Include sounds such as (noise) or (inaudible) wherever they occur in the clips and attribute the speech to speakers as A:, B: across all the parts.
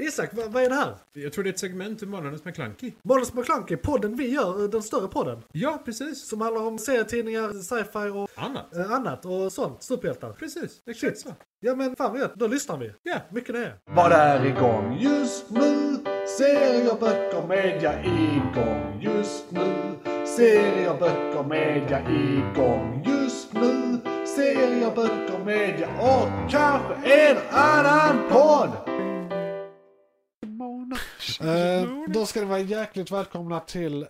A: Isak, vad, vad är det här?
B: Jag tror det är ett segment ur Månadens McKlunky.
A: Månadens McKlunky, podden vi gör, eh, den större podden.
B: Ja, precis.
A: Som handlar om serietidningar, sci-fi och
B: Annat.
A: eh, annat och sånt. Superhjältar.
B: Precis, exakt så.
A: Ja men fan vad gött, då lyssnar vi.
B: Ja,
A: Mycket det är.
C: Vad är igång just nu? Serier, böcker, media igång just nu. Serier, böcker, media igång just nu. Serier, böcker, media och kanske en annan podd. Eh, då ska ni vara jäkligt välkomna till...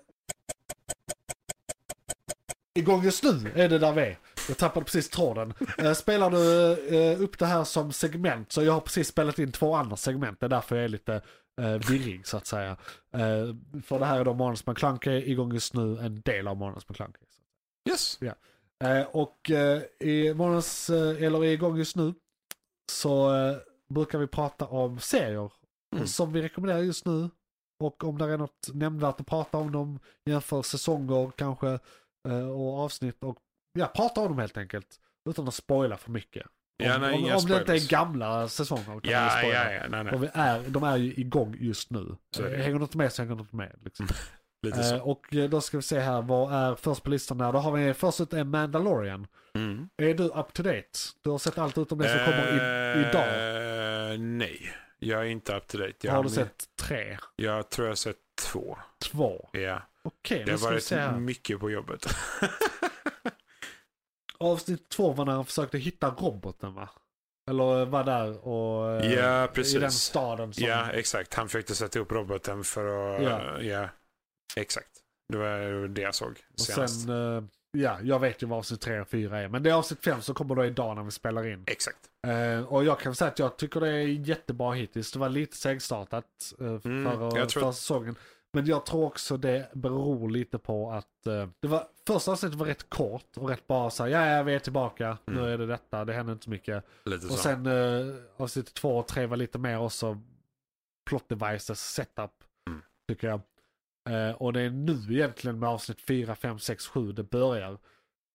C: Igång just nu är det där vi är. Jag tappade precis tråden. Eh, spelar du eh, upp det här som segment så jag har precis spelat in två andra segment. Det är därför jag är lite eh, virrig så att säga. Eh, för det här är då Månads McKlunky, igång just nu en del av Månads McKlunky.
B: yes.
C: Eh, och eh, i morgons, eh, eller i igång just nu, så eh, brukar vi prata om serier
B: Mm.
C: som vi rekommenderar just nu. Och om det är något nämnvärt att prata om dem, jämför säsonger kanske eh, och avsnitt och ja, prata om dem helt enkelt. Utan att spoila för mycket. Om,
B: Ja, nej,
C: om,
B: inga
C: om det inte
B: spoilers.
C: är gamla säsonger kan man ju
B: Ja,
C: spoila.
B: ja, ja, nej, nej.
C: Och vi är, de är ju igång just nu. Eh,
B: Så är det.
C: Hänger något med så hänger något med. Liksom.
B: Lite
C: Eh,
B: så.
C: och eh, då ska vi se här, vad är först på listan där? Då har vi först ut är Mandalorian.
B: Mm.
C: Är du up to date? Du har sett allt utom det som kommer i, idag.
B: Eh, nej, jag är inte up to date. Jag,
C: har du sett tre,
B: jag tror jag har sett två.
C: två?
B: Ja.
C: Okej,
B: Det
C: nu
B: har
C: ska vi se
B: varit
C: här. Eh,
B: mycket på jobbet. (laughs)
C: Avsnitt två var när han försökte hitta roboten va? Eller eh, var där och... eh, I
B: Ja,
C: den
B: precis.
C: staden som...
B: Ja, exakt. Han försökte sätta upp roboten för att...
C: Ja.
B: Ja, exakt. Det var det jag såg
C: och
B: senast.
C: sen, eh, ja, jag vet ju vad avsnitt tre och fyra är. Men det är avsnitt fem som kommer då idag när vi spelar in.
B: Exakt.
C: Eh, och jag kan säga att jag tycker det är jättebra hittills. Det var lite segstartat eh,
B: Mm,
C: för,
B: jag tror
C: för
B: att-
C: säsongen. Men jag tror också det beror lite på att eh, det var, första avsnittet var rätt kort och rätt bara så här, ja, ja vi är tillbaka, nu
B: Mm.
C: är det detta, det händer inte så mycket.
B: Lite
C: Och
B: så.
C: sen eh, avsnitt två och tre var lite mer också plot devices, setup,
B: Mm.
C: tycker jag. Eh, och det är nu egentligen med avsnitt 4, 5, 6, 7 det börjar.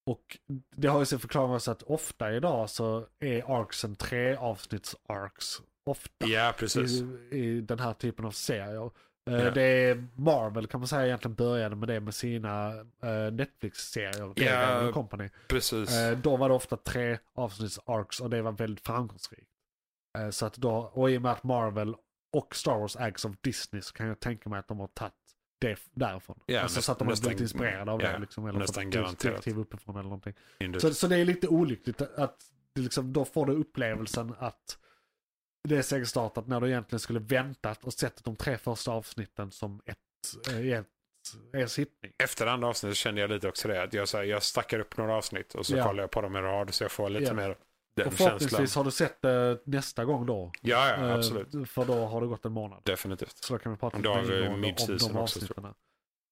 C: Och det har ju sin förklaring också att ofta idag så är arcsen tre avsnitts arcs. Ofta
B: Ja, precis.
C: i, i den här typen av serier. Eh,
B: Ja.
C: Det är Marvel kan man säga egentligen började med det med sina eh, Netflix-serier,
B: Ja.
C: Daredevil och Company.
B: Precis.
C: Eh, då var det ofta tre avsnitts-arcs och det var väldigt framgångsrikt. Eh, så att då, och i och med att Marvel och Star Wars ägs av Disney så kan jag tänka mig att de har tagit det f- därifrån.
B: Ja,
C: alltså så
B: nästan-
C: att de har blivit
B: nästan-
C: inspirerade av
B: ja,
C: det. Liksom, eller
B: nästan
C: fått
B: garanterat.
C: direktiv uppifrån eller någonting.
B: Indus.
C: Så, så det är lite olyckligt att det liksom, då får du upplevelsen att det är segstartat när du egentligen skulle väntat och sett de tre första avsnitten som ett, eh, i ett, en sittning.
B: Efter andra avsnittet kände jag lite också det. Att jag, så här, jag stackar upp några avsnitt och så
C: Ja.
B: kollar jag på dem i rad så jag får lite
C: Ja.
B: mer den
C: Och
B: känslan.
C: förhoppningsvis har du sett det nästa gång då.
B: Ja, ja,
C: Eh,
B: absolut.
C: För då har det gått en månad.
B: Definitivt.
C: Så då kan vi prata
B: Då har
C: lite
B: vi
C: mer om
B: mid-season
C: de
B: också, tror
C: avsnitten.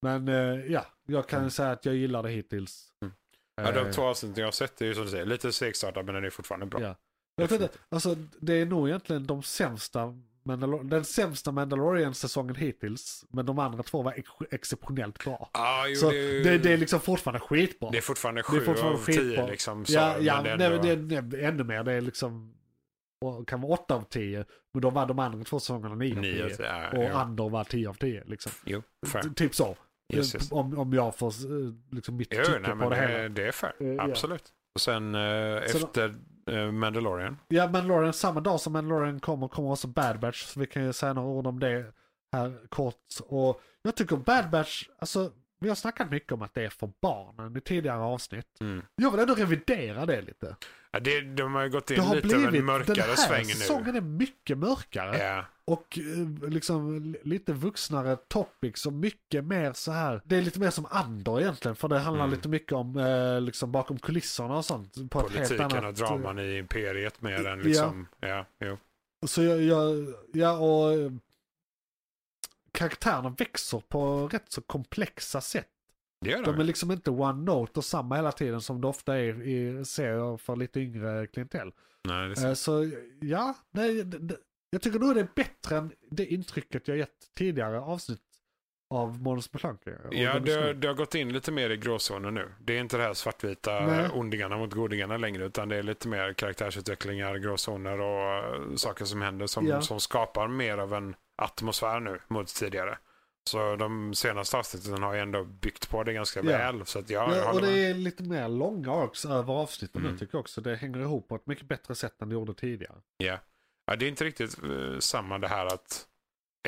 C: Men eh, ja, jag kan
B: Mm.
C: säga att jag gillar det hittills.
B: Mm. Ja, de
C: Eh,
B: två avsnitten jag har sett är ju som du säger lite segstartade men den är fortfarande bra.
C: Ja. jag vet inte, alltså, det är nog egentligen de sämsta Mandalor- den sämsta Mandalorian-säsongen hittills. Men de andra två var ex- exceptionellt bra.
B: Ah, jo,
C: så
B: det, är ju-
C: det, det är liksom fortfarande skitbra.
B: det är fortfarande
C: Det
B: sju
C: är fortfarande
B: av tio
C: skitbra.
B: liksom. Så,
C: Ja,
B: men
C: ja
B: det är
C: det,
B: ändå-
C: det, det, är ännu mer. Det är liksom, och kan vara åtta av tio. Men då var de andra två säsongerna nio av
B: nio.
C: tio.
B: Ja,
C: Och
B: ja.
C: Andor var tio av tio. Liksom.
B: Jo, fair.
C: T- Typ så.
B: Yes, yes.
C: Om, om jag får eh, liksom mitt
B: Jo,
C: tycke
B: nej,
C: på
B: men
C: det
B: det,
C: hela.
B: är- det är fair.
C: Eh, ja.
B: Absolut. Och sen eh,
C: Så då-
B: efter eh, Mandalorian.
C: Ja, Mandalorian, samma dag som Mandalorian kommer kommer också Bad Batch. Så vi kan ju säga några ord om det här kort. Och jag tycker Bad Batch, alltså vi har snackat mycket om att det är för barnen i tidigare avsnitt.
B: Mm.
C: Jag vill ändå revidera det lite.
B: Ja, det, de har ju gått in
C: Det har
B: lite av en
C: blivit, den
B: mörkare
C: här
B: sväng nu.
C: säsongen är mycket mörkare.
B: Ja,
C: Och eh, liksom li- lite vuxnare topics och mycket mer så här. Det är lite mer som Andor egentligen. För det handlar
B: Mm.
C: lite mycket om eh, liksom bakom kulisserna och sånt. På ett helt
B: politiken
C: annat... eh,
B: och draman i imperiet mer än
C: Ja.
B: liksom. Ja, jo.
C: Så jag, jag, ja och eh, karaktärerna växer på rätt så komplexa sätt.
B: Det gör
C: De är
B: de.
C: liksom inte one note och samma hela tiden som det ofta är i serier för lite yngre klientell.
B: Nej, det är sant.
C: Eh, Så ja, nej, d- d- jag tycker nog det är bättre än det intrycket jag gett tidigare avsnitt. av Måns McClunky. och
B: Ja,
C: Dennis
B: det,
C: Leary.
B: det har gått in lite mer i gråzonen nu. Det är inte det här svartvita
C: Nej.
B: eh, ondingarna mot godingarna längre, utan det är lite mer karaktärsutvecklingar, gråzoner och eh, saker som händer som,
A: Ja.
B: som skapar mer av en atmosfär nu mot tidigare. Så de senaste avsnitten har ju ändå byggt på det ganska
C: Ja.
B: väl. Så att ja, jag
C: Ja, och
B: håller
C: det
B: med. Mm.
C: är lite mer långa arcs över avsnitten nu tycker jag också. Det hänger ihop på ett mycket bättre sätt än det gjorde tidigare.
B: Ja, det är inte riktigt eh, samma det här att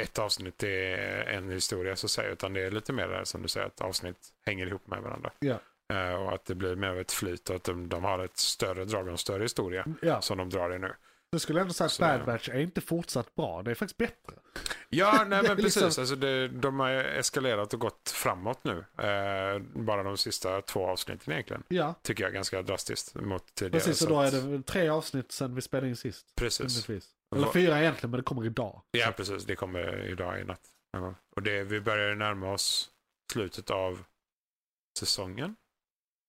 B: ett avsnitt är en historia så att säga, utan det är lite mer det här som du säger att avsnitt hänger ihop med varandra.
C: Ja.
B: Eh, och att det blir mer av ett flyt och att de, de har ett större drag och en större historia
C: Ja,
B: som de drar i nu.
C: jag skulle ändå säga att
B: Så är det.
C: Bad Batch är inte fortsatt bra. Det är faktiskt bättre. (laughs)
B: Ja, nej
C: Det är
B: men precis.
C: liksom-
B: Alltså det, de har eskalerat och gått framåt nu. Eh, bara de sista två avsnitten egentligen.
C: Ja,
B: Tycker jag ganska drastiskt mot tidigare.
C: precis. Och
B: så
C: då är
B: att-
C: det väl tre avsnitt sen vi spelade in sist.
B: Precis.
C: rimligtvis. Eller
B: Va-
C: fyra egentligen, men det kommer idag.
B: Ja, precis. Det kommer idag i natt. någon gång. Och det, vi börjar ju närma oss slutet av säsongen.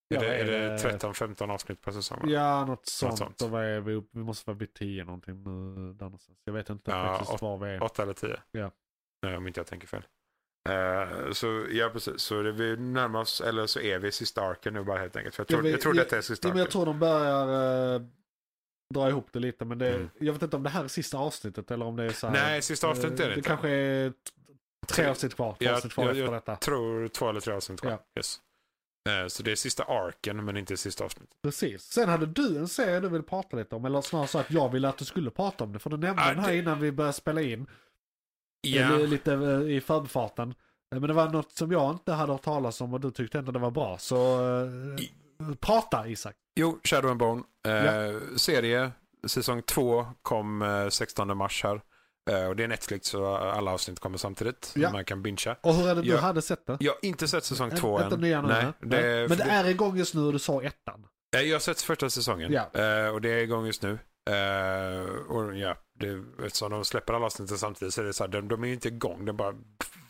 C: Ja, eh,
B: är det,
C: vad
B: är
C: är
B: det
C: det?
B: 13-15 avsnitt per säsong? va?
C: Ja, något sånt.
B: sånt.
C: Och vad är vi, upp- vi måste vara vid tio någonting nu. Där någonstans. Jag vet inte
B: Ja,
C: faktiskt
B: åt-
C: var vi är.
B: 8 eller 10?
C: Ja.
B: Nej, om inte jag tänker fel. Eh, så ja, precis. Så det, vi närmar oss, eller så är vi i sista arken nu bara helt enkelt. För jag
C: Ja,
B: tror,
C: men-
B: jag tror
C: ja,
B: detta är sista
C: Ja, men jag
B: arken.
C: tror de börjar eh, dra ihop det lite. Men det,
B: Mm.
C: jag vet inte om det här är sista avsnittet eller om det är så här.
B: Nej, sista
C: eh,
B: avsnittet är det
C: Det
B: inte.
C: kanske är t- tre avsnitt kvar. Två
B: Ja,
C: avsnitt kvar
B: ja,
C: efter
B: ja.
C: detta.
B: tror två eller tre avsnitt kvar.
C: Ja.
B: Yes. Eh, Så det är sista arken men inte sista avsnittet.
C: Precis. Sen hade du en serie du ville prata lite om. Eller snarare så att jag ville att du skulle prata om det. För du nämnde
B: Ja,
C: den här
B: det-
C: innan vi började spela in. Eller Lite eh, i förbifarten. Eh, Men det var något som jag inte hade hört talas om och du tyckte ändå det var bra. Så eh,
B: I-
C: prata Isak.
B: Jo, Shadow and Bone. Eh,
C: Ja.
B: Serie, säsong två kom eh, 16 mars här. Eh, och det är Netflix så alla avsnitt kommer samtidigt.
C: Ja.
B: Man kan bingea.
C: Och hur är det du
B: Ja.
C: hade sett det?
B: Jag har inte sett säsong två
C: Inte
B: än.
C: nya nu,
B: Nej,
C: va?
B: det,
C: Nej. Men det är igång just nu och du sa ettan.
B: Eh, Jag har sett första säsongen
C: Ja.
B: Eh, och det är igång just nu. Eh, och ja, det, eftersom de släpper alla avsnitt samtidigt så är det så här, de, de är ju inte igång. Den, bara,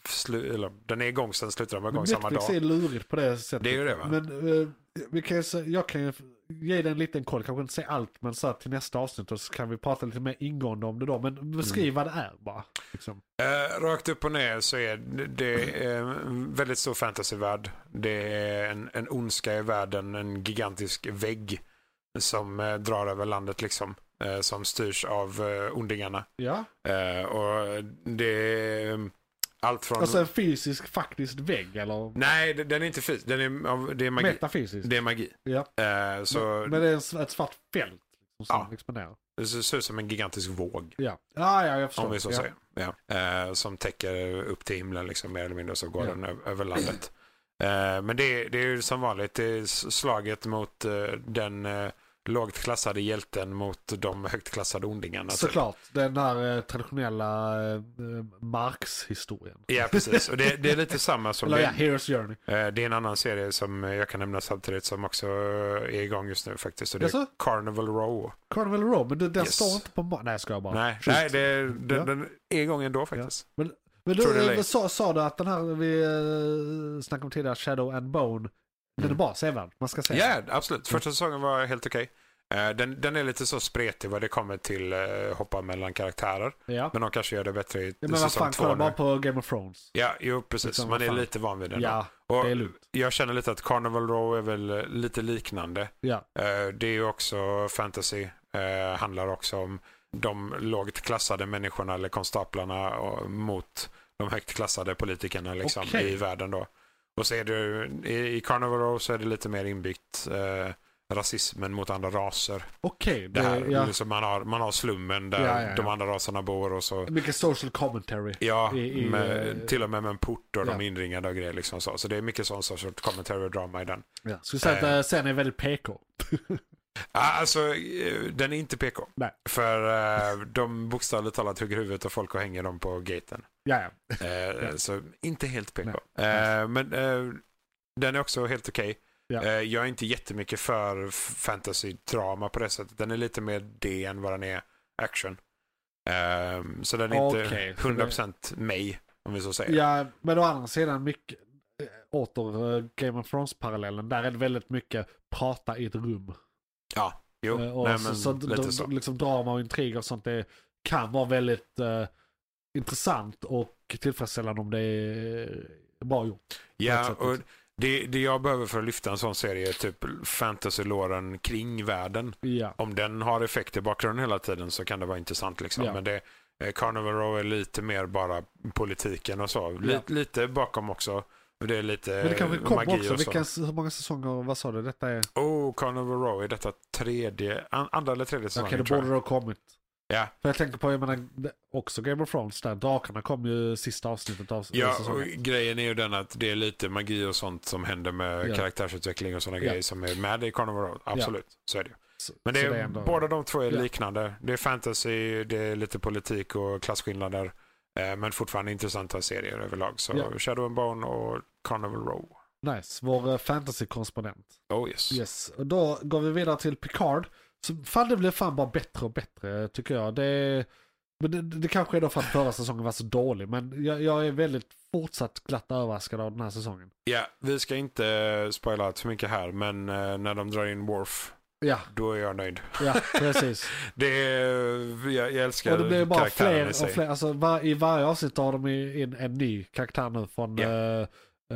B: slu, eller, den är igång sen slutar de vara igång samma
C: Netflix
B: dag.
C: är lurigt på det sättet.
B: Det är ju det, va?
C: Men eh, vi kan, ju se- jag kan ju ge dig en liten koll, kanske inte säga allt, men så här, till nästa avsnitt och så kan vi prata lite mer ingående om det då. Men
B: Mm.
C: beskriv vad det är bara. Liksom.
B: Eh, rakt upp och ner så är det, det är en väldigt stor fantasyvärld. Det är en, en ondska i världen, en gigantisk vägg som eh, drar över landet liksom. Eh, som styrs av eh, ondingarna.
C: Ja.
B: Eh, och det är eh, allt från...
C: Alltså en fysisk faktisk vägg eller
B: Nej, den- den är inte fysisk. Den är, av- det är magi.
C: metafysisk.
B: Det är magi.
C: Ja.
B: Eh, så
C: Men det är en s- ett svart fält liksom, som
B: Ja.
C: expanderar.
B: det ser ut som en gigantisk våg.
C: Ja. ja, ja, jag förstår.
B: Om vi så
C: ja.
B: säger. Ja. Eh, som täcker upp till himlen liksom, mer eller mindre så går
C: Ja.
B: den ö- över landet. Eh, men det, är- det är ju som vanligt det är s- slaget mot eh, den eh, lågt klassade hjälten mot de högt klassade ondingarna. typ.
C: Såklart, den här eh, traditionella eh, eh, Marx-historien.
B: Ja, precis. Och det, det är lite samma som...
C: (laughs) Eller ja,
B: Det,
C: Hero's Journey.
B: eh, det är en annan serie som jag kan nämna samtidigt som också är igång just nu faktiskt. Och det är
C: Jaså?
B: Carnival Row.
C: Carnival Row, men den den
B: Yes.
C: står inte på... ma- Nej, jag skojar bara.
B: Nej,
C: Schysst.
B: nej det, den,
C: Ja.
B: den är igång ändå faktiskt.
C: Men, men
B: Tror det är
C: du eh,
B: late.
C: sa, sa du att den här vi eh, snackade om tidigare, Shadow and Bone, den är bra, sevärd. Man ska
B: Mm. Ja,
C: säga.
B: absolut.
C: Mm.
B: Första säsongen var helt okej. Eh, Den, den är lite så spretig vad det kommer till eh, hoppa mellan karaktärer.
C: Ja.
B: Men de kanske gör det bättre i
C: Ja, men vad
B: säsong
C: fan,
B: två
C: kolla bara
B: nu.
C: på Game of Thrones.
B: Ja, jo precis.
C: Liksom,
B: Man
C: vad
B: är
C: fan.
B: lite van vid den.
C: Ja,
B: och
C: det är lugnt.
B: Jag känner lite att Carnival Row är väl eh, lite liknande.
C: Ja.
B: Eh, Det är ju också fantasy. Eh, Handlar också om de lågt klassade människorna eller konstaplarna och- mot de högt klassade politikerna liksom,
C: Okej.
B: i världen. Då. Och så är det, ju- i, I Carnival Row så är det lite mer inbyggt eh, rasismen mot andra raser.
C: Okej,
B: Det här,
C: det- ja.
B: liksom man, har, man har slummen där
C: Ja, ja, ja.
B: de andra raserna bor och så
C: mycket social commentary.
B: Ja,
C: I- i, eh,
B: med, till och med med en port och
C: ja.
B: de är inringade och grejer. Liksom så. så det är mycket sån sorts commentary och drama i den.
C: Ja. Skulle säga att
B: Eh.
C: eh, serien är väldigt PK.
B: Ja, Alltså, eh, den är inte PK.
C: Nej.
B: För eh, de bokstavligt talat hugger huvudet av folk och hänger dem
C: (laughs)
B: på gaten.
C: Ja, ja.
B: Eh, Så inte helt PK.
C: Nej.
B: Eh, men eh, den är också helt okej.
C: Ja.
B: Eh, jag är inte jättemycket för f- fantasy-drama på det sättet. Den är lite mer det än vad den är action. Eh, så den är
C: Okej,
B: inte
C: så det-
B: 100% mig, om vi så säger.
C: Ja, men å andra sidan mycket, eh, åter eh, Game of Thrones-parallellen, där är det väldigt mycket prata i ett rum.
B: Ja, jo.
C: Eh, och
B: Nej,
C: så,
B: men
C: så,
B: lite
C: de,
B: så.
C: liksom drama och intriger och sånt det kan vara väldigt eh, intressant och tillfredsställande om det är bra gjort. ett
B: Ja,
C: sätt
B: och
C: också.
B: det, det jag behöver för att lyfta en sån serie är typ fantasy-låren kring världen.
C: Ja,
B: Om den har effekt i bakgrunden hela tiden så kan det vara intressant. Liksom.
C: Ja.
B: Men det, eh, Carnival Row är lite mer bara politiken och så. Li-
C: Ja.
B: Lite bakom också. Det är lite
C: men det kanske
B: eh,
C: kommer
B: magi
C: också.
B: och så.
C: Vilka, hur många säsonger, vad sa du, detta är?
B: Oh, Carnival Row är detta tredje, an- andra eller tredje
C: Okej,
B: säsongen
C: det
B: tror
C: borde
B: jag.
C: det ha kommit.
B: Ja.
C: För jag tänker på, jag menar, det- också Game of Thrones, där drakarna kom ju sista avsnittet av eh,
B: Ja, och
C: säsongen.
B: grejen är ju den att det är lite magi och sånt som händer med
C: Ja.
B: karaktärsutveckling och sådana
C: Ja.
B: grejer som är med i Carnival Row. Absolut, så är det. ju.
C: Så-
B: Men det
C: så
B: är,
C: ändå-
B: båda de två är
C: Ja.
B: liknande. Det är fantasy, det är lite politik och klasskillnader. Eh, men fortfarande intressanta serier överlag. Så
C: Ja.
B: Shadow and Bone och Carnival Row.
C: Nice, vår eh, fantasy-korrespondent.
B: Oh yes.
C: Yes, och då går vi vidare till Picard. Så fan det blev fan bara bättre och bättre tycker jag. Det, men det, det kanske är då för att förra säsongen var så dålig. Men jag, jag är väldigt fortsatt glatt överraskad av den här säsongen.
B: Ja, vi ska inte eh, spoila allt för mycket här, men eh, när de drar in Worf,
C: Ja,
B: då är jag nöjd.
C: ja precis.
B: Det är, jag, jag
C: (laughs)
B: älskar
C: och det blir bara
B: karaktären
C: fler
B: i
C: och
B: sig.
C: fler. Alltså, var, I varje avsnitt har de ju in en ny karaktär nu från
B: Ja.
C: eh,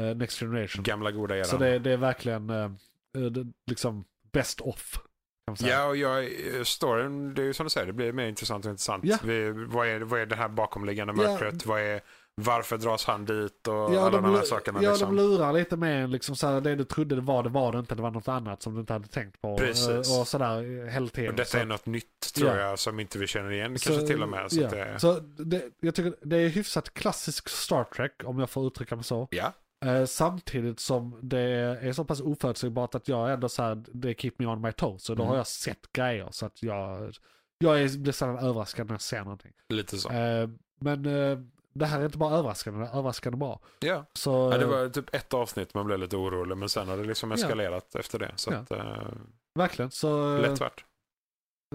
C: eh, Next Generation.
B: Gamla goda eran.
C: Så det, det är verkligen eh, eh, det, liksom best off. Kan man säga.
B: Ja, och jag, eh, storyn, det är ju som du säger, det blir mer intressant och intressant.
C: Ja.
B: Vi, vad, är, vad är det här bakomliggande
C: Ja.
B: mörkret? Vad är, varför dras han dit och
C: Ja,
B: alla
C: de,
B: de, här
C: lu-
B: sakerna?
C: ja
B: liksom.
C: de lurar lite med en, liksom så här, det du trodde det var, det var det inte. Det var något annat som du inte hade tänkt på.
B: Precis.
C: eh, Och sådär eh, hela tiden.
B: och detta
C: så,
B: är något nytt tror
C: Ja.
B: jag som inte vi känner igen kanske till och med. Så
C: ja.
B: att det,
C: så det, jag tycker det är hyfsat klassisk Star Trek, om jag får uttrycka mig så.
B: ja.
C: Eh, samtidigt som det är så pass oförutsägbart att jag ändå så här, det är keep me on my toes. Och då
B: Mm.
C: har jag sett grejer. Så att jag, jag är, blir sällan överraskad när jag ser någonting.
B: lite så.
C: Eh, men eh, det här är inte bara överraskande, det är överraskande bra.
B: Ja.
C: Så,
B: Ja, det
C: eh,
B: var typ ett avsnitt man blev lite orolig men sen har det liksom
C: Ja.
B: eskalerat efter det. Så
C: Ja.
B: att, eh,
C: verkligen. Så, eh,
B: lätt värt,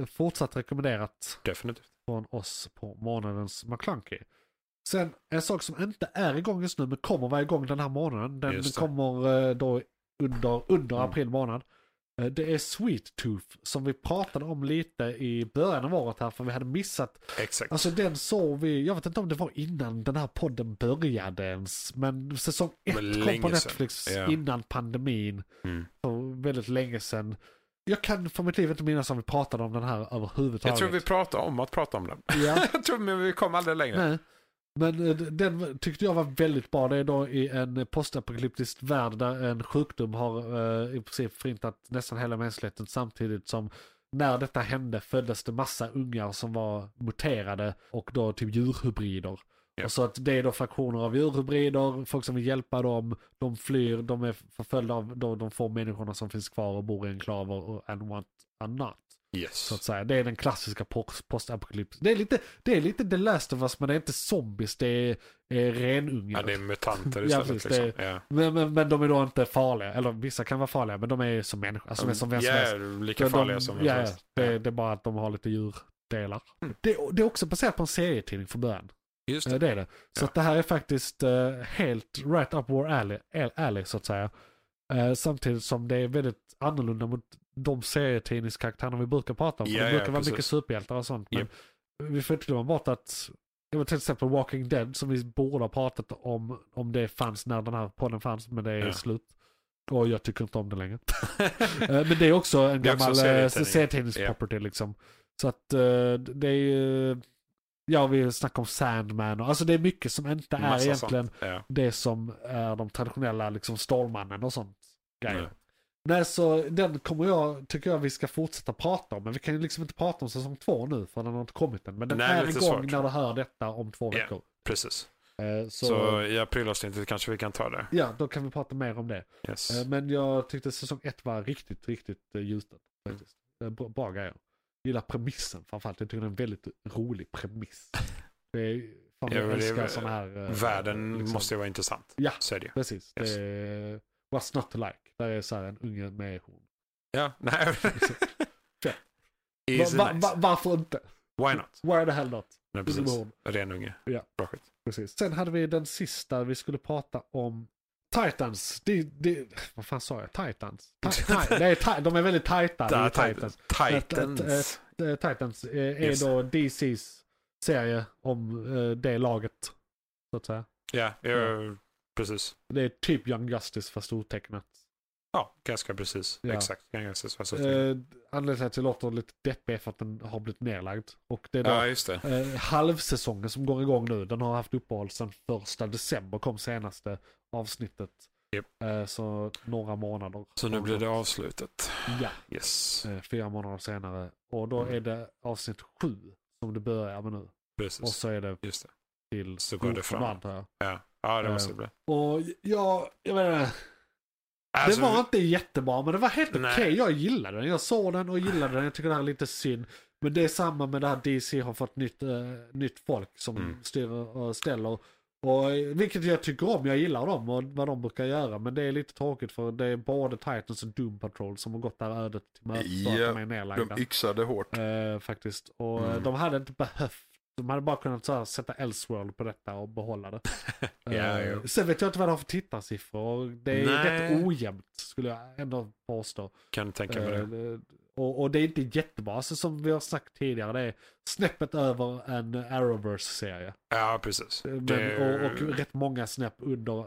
C: fortsatt rekommenderat
B: definitivt.
C: från oss på månadens McClunky. Sen en sak som inte är igång just nu men kommer vara igång den här månaden. Den
B: Just det.
C: kommer eh, då under, under
B: Mm.
C: april månad. Eh, Det är Sweet Tooth som vi pratade om lite i början av året här för vi hade missat.
B: Exakt.
C: Alltså den såg vi, jag vet inte om det var innan den här podden började ens. Men säsong ett
B: Men
C: kom
B: länge
C: på
B: sedan.
C: Netflix
B: Ja.
C: innan pandemin
B: Mm.
C: för väldigt länge sedan. Jag kan för mitt liv inte minnas om vi pratade om den här överhuvudtaget.
B: Jag tror vi pratade om att prata om den. (laughs)
C: Ja,
B: Jag tror men vi kom aldrig längre.
C: nej. Men eh, den tyckte jag var väldigt bra. Det är då i en postapokalyptisk värld där en sjukdom har eh, i princip förintat nästan hela mänskligheten samtidigt som när detta hände föddes det massa ungar som var muterade och då typ djurhybrider.
B: Ja.
C: Och så att det är då fraktioner av djurhybrider, folk som vill hjälpa dem, de flyr, de är förföljda av de, de få människorna som finns kvar och bor i enklaver och and what annat. Så att
B: Yes.
C: säga. Det är den klassiska post- postapokalypsen. Det är lite, det är lite The Last of Us men det är inte zombies, det är, är renungar.
B: Ja, det är mutanter
C: Ja,
B: istället.
C: precis, det-
B: liksom. ja.
C: men, men, men de är då inte farliga, eller vissa kan vara farliga men de är som människor, alltså de är som vem som helst.
B: Ja, lika
C: Men
B: farliga
C: de,
B: som vem
C: ja,
B: som
C: ja,
B: helst.
C: det,
B: Ja, Mm.
C: det är bara att de har lite djurdelar. Det, det är också baserat på en serietidning från början.
B: Just
C: Eh,
B: det.
C: Det är det. Så
B: Ja.
C: att det här är faktiskt eh, helt right up our alley, al- alley så att säga. Eh, samtidigt som det är väldigt annorlunda mot de serietidningskaraktärerna vi brukar prata om. för
B: Ja,
C: det
B: ja,
C: brukar vara
B: precis.
C: mycket superhjältar och sånt. Men
B: Japp.
C: vi får inte glömma bort att jag vet, till exempel Walking Dead som vi borde ha pratat om om det fanns när den här podden fanns men det är
B: Ja.
C: slut. Och jag tycker inte om det längre. Eh, Men det är också en
B: Det är också
C: gammal eh,
B: serietidning.
C: serietidningsproperty liksom. Så att eh, det är ju, ja vi snackar om Sandman och alltså det är mycket som inte är
B: (laughs) Massa
C: egentligen
B: sånt. Ja.
C: det som är de traditionella liksom Stålmannen och sånt grejer.
B: Nej.
C: Nej så den kommer jag, tycker jag vi ska fortsätta prata om. Men vi kan ju liksom inte prata om säsong två nu för den har inte kommit än. Men den
B: Nej,
C: är
B: lite
C: igång
B: svårt.
C: när du hör detta om två
B: Ja.
C: veckor.
B: Precis.
C: Eh,
B: Så,
C: så,
B: i aprilavsnittet kanske vi kan ta det.
C: ja, då kan vi prata mer om det.
B: Yes.
C: Eh, Men jag tyckte säsong ett var riktigt, riktigt eh, gjuten. faktiskt. Eh, Bra, bra grejer. Gillar premissen framförallt. Jag tycker det är en väldigt rolig
B: (laughs)
C: premiss. Det är, fan,
B: Ja,
C: jag
B: men det är
C: älskar
B: väl-
C: sådana här... eh,
B: Världen
C: liksom-
B: måste ju vara intressant.
C: Ja.
B: Så är det ju.
C: Precis.
B: Yes.
C: Det är eh, What's Not To Like. Där är så här en unge med horn.
B: Ja, (laughs) nej.
C: Va,
B: Easy
C: va,
B: nice.
C: va, varför inte?
B: Why not?
C: Why the hell not?
B: Nej,
C: Unge med
B: precis.
C: horn.
B: Renunge.
C: Ja.
B: Bra skit.
C: Precis. Sen hade vi den sista vi skulle prata om. Titans. Det, det, vad fan sa jag? Titans? Ti-
B: (laughs)
C: ti- nej, ti- de är väldigt tajta. i
B: Där,
C: Titans.
B: Titans.
C: Eh, Titans eh, är
B: Just
C: då DC's serie om eh, det laget. Så att säga.
B: Ja, ja, precis.
C: Det är typ Young Justice fast otecknat.
B: Ja, ganska precis.
C: Ja.
B: Exakt. Ganska precis.
C: Eh, anledningen till att jag låter lite deppig är för att den har blivit nedlagd. Och det är då
B: ja, just det.
C: eh, halvsäsongen som går igång nu. Den har haft uppehåll sedan första december kom senaste avsnittet.
B: Japp.
C: Eh, så några månader.
B: Så nu
C: har
B: blir det
C: gått.
B: avslutet.
C: Ja,
B: Yes,
C: eh, fyra månader senare. Och då
B: Mm.
C: är det avsnitt sju som det börjar med nu. Och
B: precis.
C: så är det
B: Just det.
C: till
B: Så går
C: 14,
B: det fram.
C: antar jag.
B: Ja, ja det
C: Eh,
B: måste det bli.
C: Och jag, jag menar,
B: Alltså,
C: det var inte jättebra men det var helt okej.
B: Nej.
C: Jag gillade den. Jag såg den och gillade den. Jag tycker det här är lite synd. Men det är samma med det här DC har fått nytt, eh, nytt folk som
B: Mm.
C: styr och ställer. Och, eh, vilket jag tycker om. Jag gillar dem och vad de brukar göra. Men det är lite tråkigt för det är både Titans och Doom Patrol som har gått där ödet till mötes. för att
D: Ja,
C: de är nedlagda.
D: De yxade hårt.
C: Eh, faktiskt. Och eh,
B: Mm.
C: de hade inte behövt. De hade bara kunnat så här, sätta Elseworld på detta och behålla det.
B: (laughs) Ja,
C: Eh,
B: jo.
C: Sen vet jag inte vad de har för tittarsiffror. och Det är
B: Nej.
C: rätt ojämnt skulle jag ändå påstå.
B: kan tänka mig
C: Eh,
B: det.
C: det- och, och det är inte jättebra. Alltså, som vi har sagt tidigare, det är snäppet över en Arrowverse-serie.
B: Ja, precis.
C: Eh, Men,
B: Det-
C: och, och rätt många snäpp under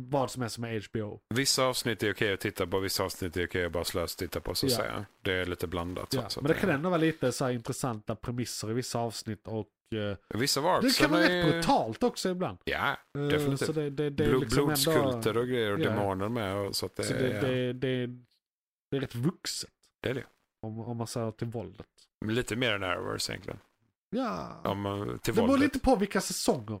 C: vad som är som är HBO.
B: Vissa avsnitt är okej att titta på, vissa avsnitt är okej att bara slöst titta på så att
C: Ja.
B: säga. Det är lite blandat.
C: Ja,
B: så att
C: men det
B: säga.
C: kan ändå vara lite så här intressanta premisser i vissa avsnitt och eh,
B: Vissa var
C: det kan
B: också
C: vara
B: med-
C: rätt brutalt också ibland.
B: Ja,
C: Eh,
B: Definitivt.
C: Så det, det, det är
B: blod,
C: liksom
B: blodskulter eh,
C: ändå...
B: och grejer och
C: ja.
B: demoner med. Och så att det,
C: Så det, det, det, det är rätt vuxet.
B: Det är det.
C: Om, om man säger till våldet.
B: Men Lite mer än Arrowverse egentligen.
C: Ja.
B: Om, man- till
C: det beror
B: våldet.
C: lite på vilka säsonger.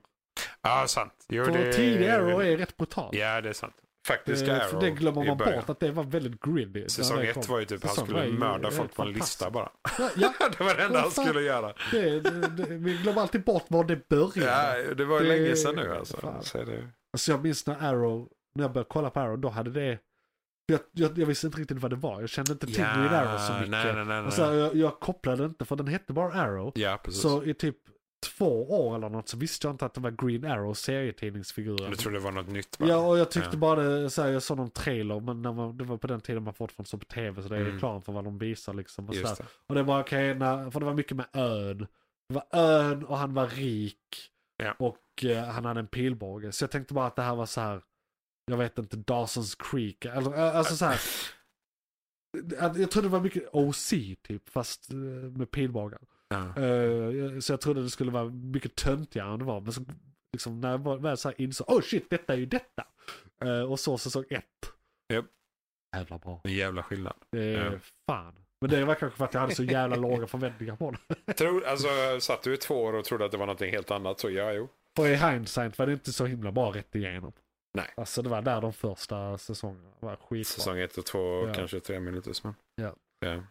B: Ja, sant. Jo,
C: För
B: det...
C: tidig Arrow är rätt brutal.
B: Ja, det är sant.
C: Eh,
B: Faktiska Arrow
C: För det glömmer
B: i
C: man
B: början.
C: bort att det var väldigt gritty. när
B: Säsong
C: det
B: ett
C: kom.
B: var ju typ att han
C: Säsong
B: skulle
C: var ju-
B: mörda
C: är
B: folk på en
C: fantastisk.
B: lista bara.
C: Ja, ja
B: det var det enda han
C: Vad fan.
B: skulle göra.
C: det, det, det, vi glömmer alltid bort var det började.
B: Ja, det var ju
C: Det-
B: länge sedan nu alltså.
C: fan.
B: Så är det...
C: Alltså jag minns när Arrow, när jag började kolla på Arrow, då hade det... Jag, jag, jag visste inte riktigt vad det var. Jag kände inte till
B: Ja,
C: i Arrow så
B: nej,
C: mycket.
B: nej, nej, nej.
C: Och så här, jag, jag kopplade inte, för den hette bara Arrow.
B: Ja, precis.
C: Så i typ två år eller något så visste jag inte att det var Green Arrow serietidningsfiguren.
B: Du trodde det var något nytt bara.
C: Ja, och jag tyckte
B: Ja.
C: bara det, så här, jag såg någon trailer, men när man, det var på den tiden man fortfarande såg på tv, så det är
B: Mm.
C: reklam för vad de visar liksom. Och, så
B: Just
C: där.
B: det.
C: och det var okej, när- för det var mycket med ön. Det var ön och han var rik.
B: Ja.
C: Och eh, han hade en pilbåge. Så jag tänkte bara att det här var så här, jag vet inte, Dawson's Creek. Eller, eh, alltså så här, att jag trodde det var mycket OC typ, fast eh, med pilbågar.
B: Ja.
C: Eh, så jag trodde det skulle vara mycket töntigare än det var. Men så, liksom, när jag var- väl så här insåg, oh shit, detta är ju detta. Eh, och så säsong ett.
B: Japp.
C: Jävla bra.
B: En jävla skillnad.
C: Det är
B: Ja.
C: fan. Men det var kanske för att jag hade så jävla låga förväntningar på det.
B: Tror, alltså, satt du i två år och trodde att det var något helt annat så ja, jo.
C: För i hindsight var det inte så himla bra rätt igenom.
B: Nej.
C: Alltså det var där de första säsongerna var skitbra.
B: Säsong ett och två,
C: Ja.
B: kanske tre minuter. Men...
C: Ja.
B: Ja.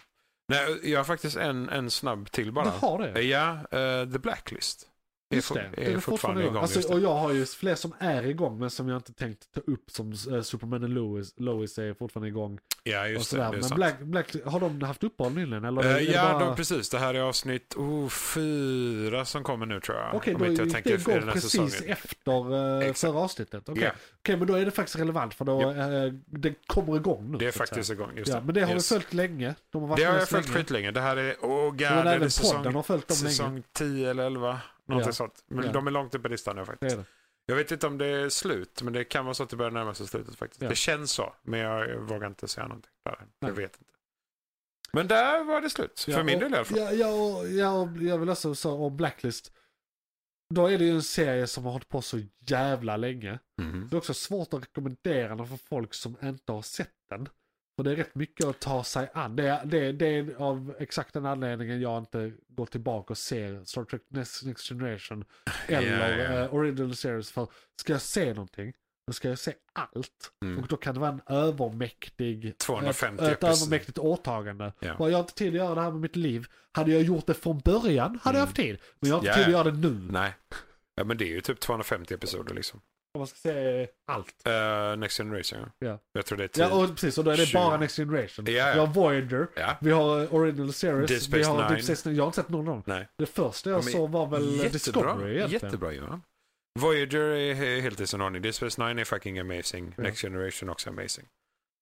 B: Nej, jag har faktiskt en, en snabb till bara.
C: Du har det?
B: Ja, eh, The Blacklist.
C: Just
B: fort-
C: det. det är fortfarande igång.
B: just
C: Alltså,
B: det.
C: och jag har ju fler som är igång men som jag inte tänkt ta upp som eh, Superman och Lois. Lois är fortfarande igång.
B: ja,
C: och
B: just det.
C: sådär.
B: det är
C: men
B: sant.
C: Black, Black, har de haft uppehåll nyligen? Eller
B: Eh,
C: är det
B: ja,
C: bara...
B: då, precis. Det här är avsnitt oh, fyra som kommer nu tror jag.
C: Okej,
B: Om
C: då
B: inte jag
C: gick det
B: tänker fel
C: igång
B: den här
C: precis
B: säsongen.
C: efter uh,
B: Exakt.
C: förra avsnittet. Okej,
B: Ja.
C: Okej, men då är det faktiskt relevant för då, eh, det kommer igång nu.
B: Det är
C: så att
B: faktiskt
C: säga.
B: igång. Just
C: Ja, men det har
B: Yes.
C: vi följt länge. De har varit
B: Det har
C: med
B: jag
C: oss
B: följt
C: länge.
B: skitlänge. Det här är, oh god, det
C: Men
B: är
C: även
B: säsong,
C: podden har följt dem länge.
B: säsong 10 eller 11. Någonting
C: Ja.
B: sånt. Men
C: Ja.
B: de är långt uppe i listan nu
C: Det är
B: faktiskt.
C: det.
B: Jag vet inte om det är slut, men det kan vara så att det börjar närma sig slutet faktiskt.
C: Ja.
B: Det känns så, men jag vågar inte säga någonting. Där. Jag
C: Nej.
B: vet inte. Men där var det slut.
C: Ja,
B: För min
C: och-
B: del i alla fall.
C: Ja, ja, och- ja, och jag vill också säga om Blacklist. Då är det ju en serie som har hållit på så jävla länge.
B: Mhm.
C: Det är också svårt att rekommendera den för folk som inte har sett den. För det är rätt mycket att ta sig an. Det är, det, är- det är av exakt den anledningen jag inte går tillbaka och ser Star Trek Next, Next Generation eller
B: Ja, ja.
C: eh, Original Series. För ska jag se någonting, då ska jag se allt.
B: Mm.
C: Och då kan det vara en övermäktig...
B: 250
C: ett, ett
B: episoder.
C: övermäktigt åtagande.
B: Ja.
C: Bara, Jag har inte tid att göra det här med mitt liv. Hade jag gjort det från början hade jag haft tid. Men jag har inte
B: Mm. Ja,
C: tid att
B: ja.
C: göra det nu.
B: Nej. Ja, men det är ju typ 250 episoder liksom.
C: Om man ska se allt.
B: Eh, Next Generation, ja.
C: Ja.
B: Jag tror det är 10.
C: Ja, och precis. Och då är det
B: Typ. Tjugo.
C: bara Next Generation.
B: Ja, ja.
C: Vi har Voyager.
B: Ja.
C: Vi har eh, Original Series.
B: Deep Space
C: vi har
B: Nine.
C: Deep Space Nine. Jag har inte sett någon av dem.
B: Nej.
C: Det första jag
B: Ja, men
C: såg var väl Discovery egentligen.
B: Jättebra Johan. Voyager är he- helt i sin ordning. Deep Space Nine är fucking amazing.
C: Ja.
B: Next Generation också amazing.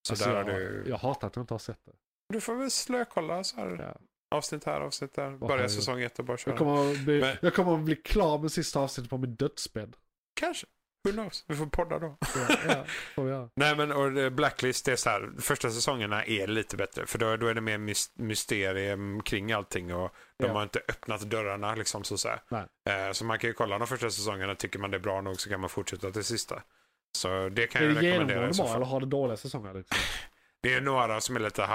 B: Så
C: Alltså,
B: där
C: jag,
B: har du...
C: jag hatar att jag inte har sett det.
B: Du får väl slökolla så här.
C: Ja.
B: Avsnitt här, avsnitt där. Börja
C: herregud.
B: säsong ett och bara
C: Jag
B: köra.
C: kommer, att bli,
B: Men-
C: jag kommer att bli klar med sista avsnittet på min dödsbädd.
B: Kanske. Who knows? Vi får podda då.
C: Ja,
B: (laughs)
C: ja, får jag.
B: Nej men och det- Blacklist det är så här, första säsongerna är lite bättre för då, då är det mer mys- mysterium kring allting och de
C: Ja.
B: har inte öppnat dörrarna liksom så att säga.
C: Nej.
B: Eh, så man kan ju kolla de första säsongerna, tycker man det är bra nog så kan man fortsätta till sista. Så det kan
C: Är
B: jag
C: det
B: rekommendera. i
C: genomgående
B: så
C: bra
B: fall.
C: eller har det dåliga säsonger? Liksom?
B: Det är några som är lite
C: Det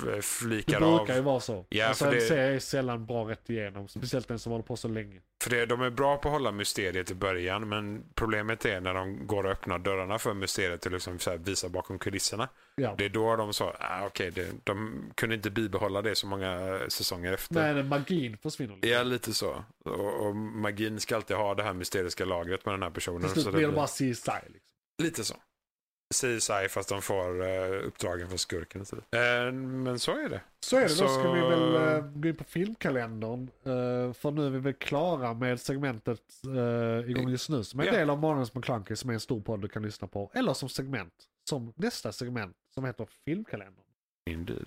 B: halvflikar av.
C: brukar ju vara så.
B: Ja,
C: alltså,
B: för
C: en
B: det-
C: serie är sällan bra rätt igenom. Speciellt den som håller på så länge.
B: För det, de är bra på att hålla mysteriet i början men problemet är när de går och öppnar dörrarna för mysteriet och liksom så här visar bakom kulisserna.
C: Ja.
B: Det är då de sa, ah, okej, det- de kunde inte bibehålla det så många eh, säsonger efter.
C: Nej, den magin försvinner liksom. lite.
B: Ja, lite så. Och, och magin ska alltid ha det här mysteriska lagret med den här personen.
C: Till slut
B: så
C: blir det bara CSI. Liksom.
B: Lite så. CSI fast de får eh, uppdragen från skurken och så vidare. Eh, Men så är det.
C: Så är det. Då ska
B: Så-
C: vi väl eh, gå in på filmkalendern. eh, för nu är vi väl klara med segmentet eh, igång just nu. Som är en
B: Ja.
C: del av Månadens McKlunky som är en stor podd du kan lyssna på. Eller som segment. Som nästa segment som heter filmkalendern.
B: Indeed.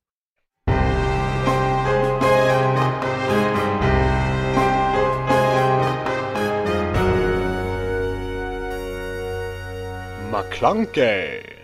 E: McClunkey!